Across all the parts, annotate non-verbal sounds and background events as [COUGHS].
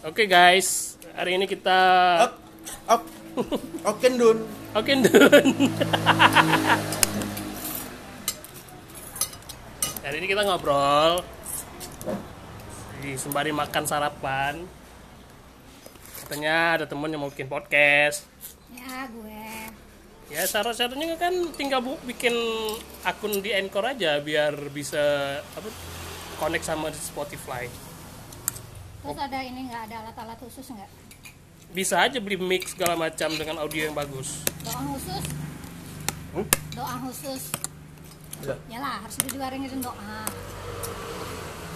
Oke guys, hari ini kita Up, up, oke Dun. Oke Ndun. [LAUGHS] hari ini kita ngobrol di sembari makan sarapan. Katanya ada temen yang mau bikin podcast. Ya gue Ya syarat-syaratnya kan tinggal bu bikin akun di Anchor aja biar bisa apa connect sama Spotify. Terus ada ini nggak ada alat-alat khusus nggak? Bisa aja beli mix segala macam dengan audio yang bagus. Doa khusus? Hmm? Doa khusus? Lah. Yalah harus diwarengin doa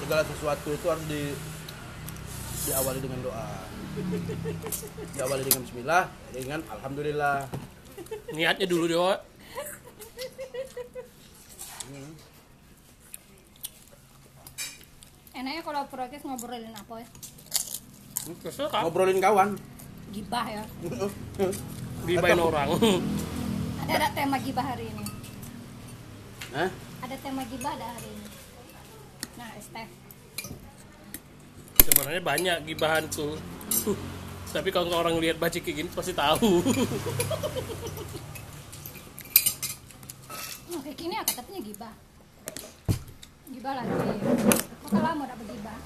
Segala sesuatu itu harus di diawali dengan doa. Diawali dengan bismillah, dengan alhamdulillah. Niatnya dulu doa. Enaknya kalau progres ngobrolin apa ya? Terus apa? Ngobrolin kawan. Gibah ya Gibain orang. [LAUGHS] Ada ada tema gibah hari ini Hah? Ada tema gibah ada hari ini Nah Steph Sebenarnya banyak gibahan tuh. [LAUGHS] Tapi kalau orang lihat baci kayak gini pasti tahu. [LAUGHS] oh, Kayak gini ya katanya gibah Gibah lagi Kok lama udah bergibah?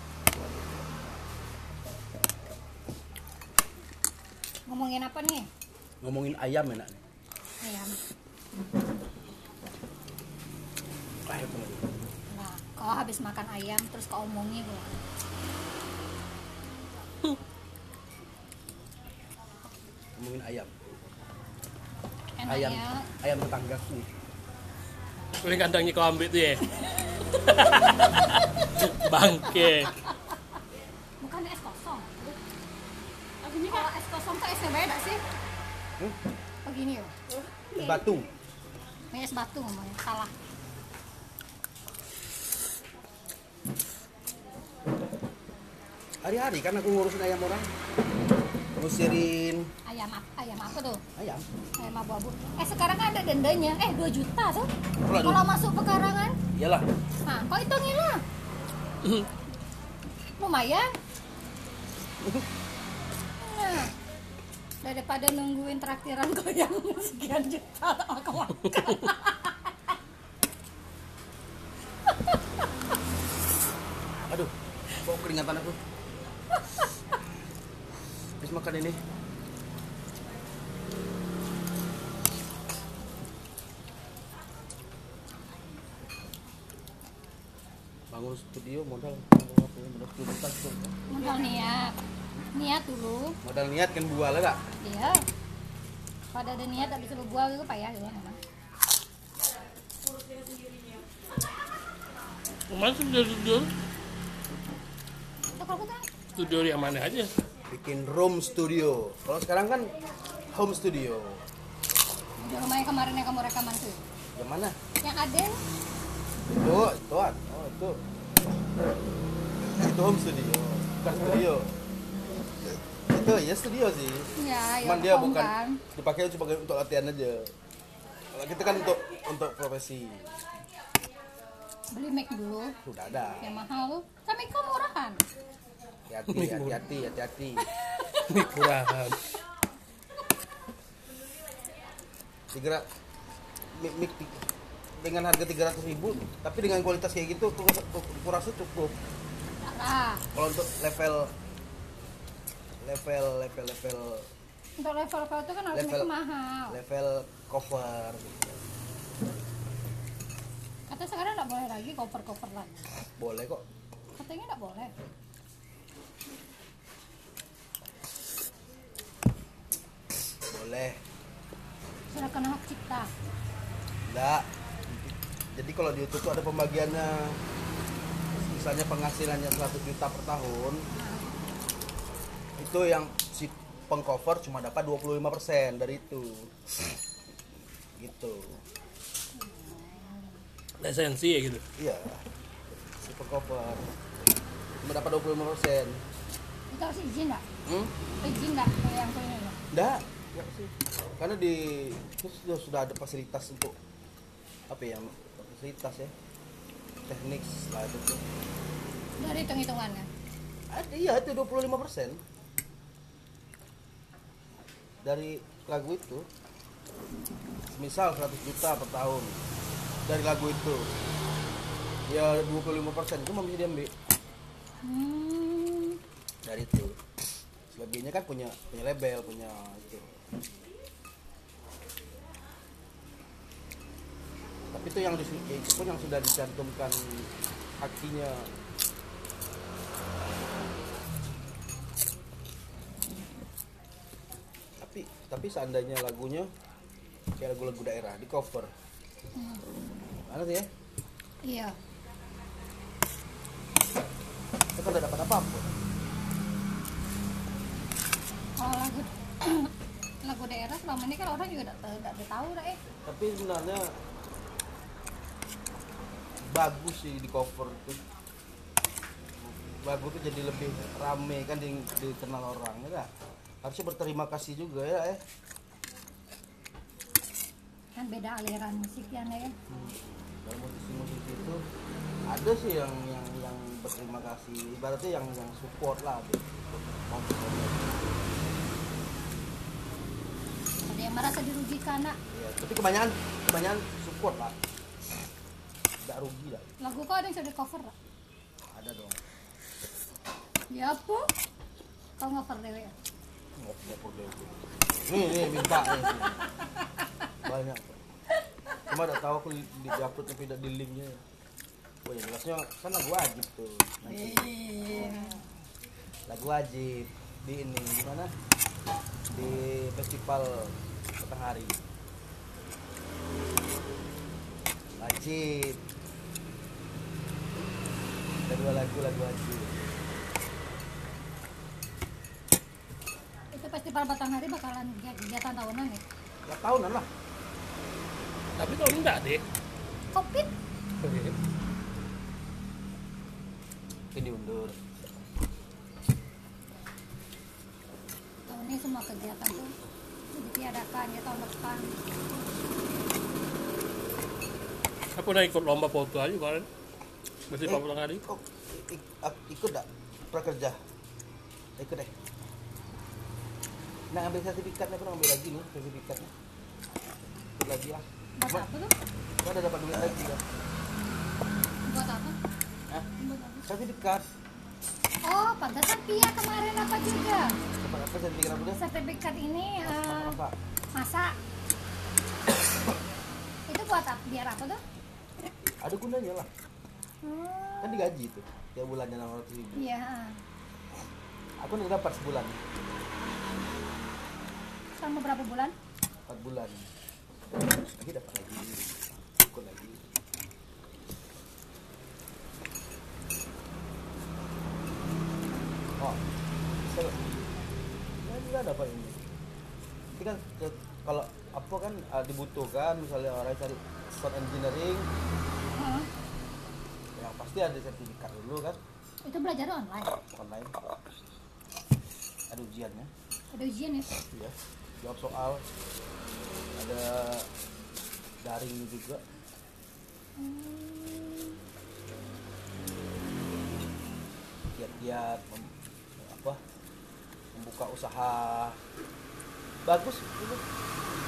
Ngomongin apa nih? Ngomongin ayam enak nih. Ayam Ayam. Nah, kau habis makan ayam terus kau omongin ya. Ngomongin ayam. Enaknya Ayam. Ayam tetanggaku. Boleh kandangnya kau ambil tuh ya. [LAUGHS] Bangke. bukan es kosong. Kalau es kosong tuh esnya beda sih. Hmm? Begini ya. Batu. Ini es batu ngomongnya. Salah. Hari-hari kan aku ngurusin ayam orang. Ngusirin Ayam apa? Ayam apa tuh? ayam. Ayam abu-abu. Eh sekarang kan ada dendanya. Eh 2 juta tuh. Waduh. Kalau masuk pekarangan. Iyalah. Nah, kau hitungin [CLEARS THROAT] lah. Lumayan. Nah, daripada nungguin traktiran kau yang [LAUGHS] sekian juta sama kau makan. Aduh. Kok keringatan aku. Habis makan ini. bangun studio modal modal juta tuh. Modal niat. Niat dulu. modal niat kan buah lah kak Iya. Pada ada niat tak bisa berbual itu payah juga memang. Kemarin studio studio Itu kalau kita studio yang mana aja? [LAUGHS] bikin room studio kalau sekarang kan home studio di rumah yang kemarin yang kamu rekaman tuh. yang mana Yang ada itu itu An. oh itu itu home studio bukan studio itu ya studio sih ya yang cuman dia home bukan kan. dipakai cuma untuk latihan aja kalau kita kan untuk untuk profesi Beli mic dulu sudah ada yang mahal Kan tuh. Tapi kau murahan. hati-hati hati-hati hati-hati Ini kurang. tiga mik mik ti- dengan harga 300 ribu tapi dengan kualitas kayak gitu aku rasa- aku rasa cukup Tak lah. kalau untuk level level level level Untuk level kau itu kan harus mic Level. mahal. level cover gitu. Kata sekarang nggak boleh lagi koper-koper lagi. boleh kok Katanya nggak boleh. boleh Sudah kena hak cipta. enggak jadi kalau di YouTube tuh ada pembagiannya misalnya penghasilannya 100 juta per tahun itu yang si pengcover cuma dapat 25% dari itu gitu Lisensi ya gitu. iya si pengcover cuma dapat 25% Itu harus izin nggak? hmm? Izin nggak kalau yang punya ini? Enggak. Karena di terus sudah, sudah ada fasilitas untuk apa ya? Fasilitas ya. Teknik lah itu. tuh. Dari hitung-hitungannya. Ada iya itu 25%. dari lagu itu misal 100 juta per tahun dari lagu itu ya 25 persen itu masih diambil Hmm. dari itu selebihnya kan punya punya label punya itu tapi itu yang disu- ya itu pun yang sudah dicantumkan hakinya tapi tapi seandainya lagunya kayak lagu-lagu daerah di cover mana sih ya Iya. kita kan nggak dapat apa-apa Kalau lagu [COUGHS] lagu daerah selama ini kan orang juga nggak tahu- nggak ada tahu dah eh. tapi sebenarnya bagus sih di cover itu lagu itu jadi lebih rame kan di, dikenal orang ya dah. harusnya berterima kasih juga ya eh Kan beda aliran musik ya nih. dalam musisi musisi itu ada sih yang yang yang berterima kasih ibaratnya yang yang support lah gitu. Mau support. Ada yang merasa dirugikan nak. Ya, tapi kebanyakan kebanyakan support lah tidak rugi lah Lagu kau ada yang sudah di cover tak? ada dong Ya apa? Kau cover dewe. ya? Ngopnya perlu itu. Nih, nih, minta nih. Banyak. Cuma tak tahu aku di- di upload tapi tidak di linknya. Wah, yang jelasnya kan lagu wajib tuh. Nanti lagu wajib di ini di mana? Di festival petang hari. Wajib. Ada dua lagu lagu wajib. Itu festival Batanghari bakalan ke- kegiatan tahunan ya. Ya tahunan lah. Tapi kalau enggak deh, Covid Itu diundur. tahun ini semua kegiatan tuh diadakan ya tahun depan. aku udah ikut lomba foto aja kemarin. Masih Eh, eh. pulang hari. kok i- i- ak- ikut gak prakerja? Ikut deh. Nah ambil sertifikatnya, aku nak ambil lagi nih sertifikatnya. Ikut lagi lah. Buat Cuma, apa tuh? cuma udah dapat duit lagi ya. Buat apa? Hah? Buat apa? Sertifikat. Oh, pantasan Pia kemarin apa juga? Dapat apa sertifikat apa dia? Sertifikat ini Masak eh, apa? masak. itu buat apa? Biar apa tuh? Ada gunanya lah. Hmm, Kan digaji itu. Tiap bulannya 600 ribu. Iya. Aku udah dapat sebulan. Selama berapa bulan? 4 bulan. Lagi dapat lagi. Ikut lagi. Oh, saya ya juga dapat ini. Tapi kan ke- kalau apa kan eh, dibutuhkan misalnya orang cari sound engineering Heeh. yang pasti ada sertifikat dulu kan Itu belajar online. online ada ujiannya Ada ujian ya? ya jawab soal ada daring juga Hmm, giat-giat mem- gitu. apa membuka usaha bagus itu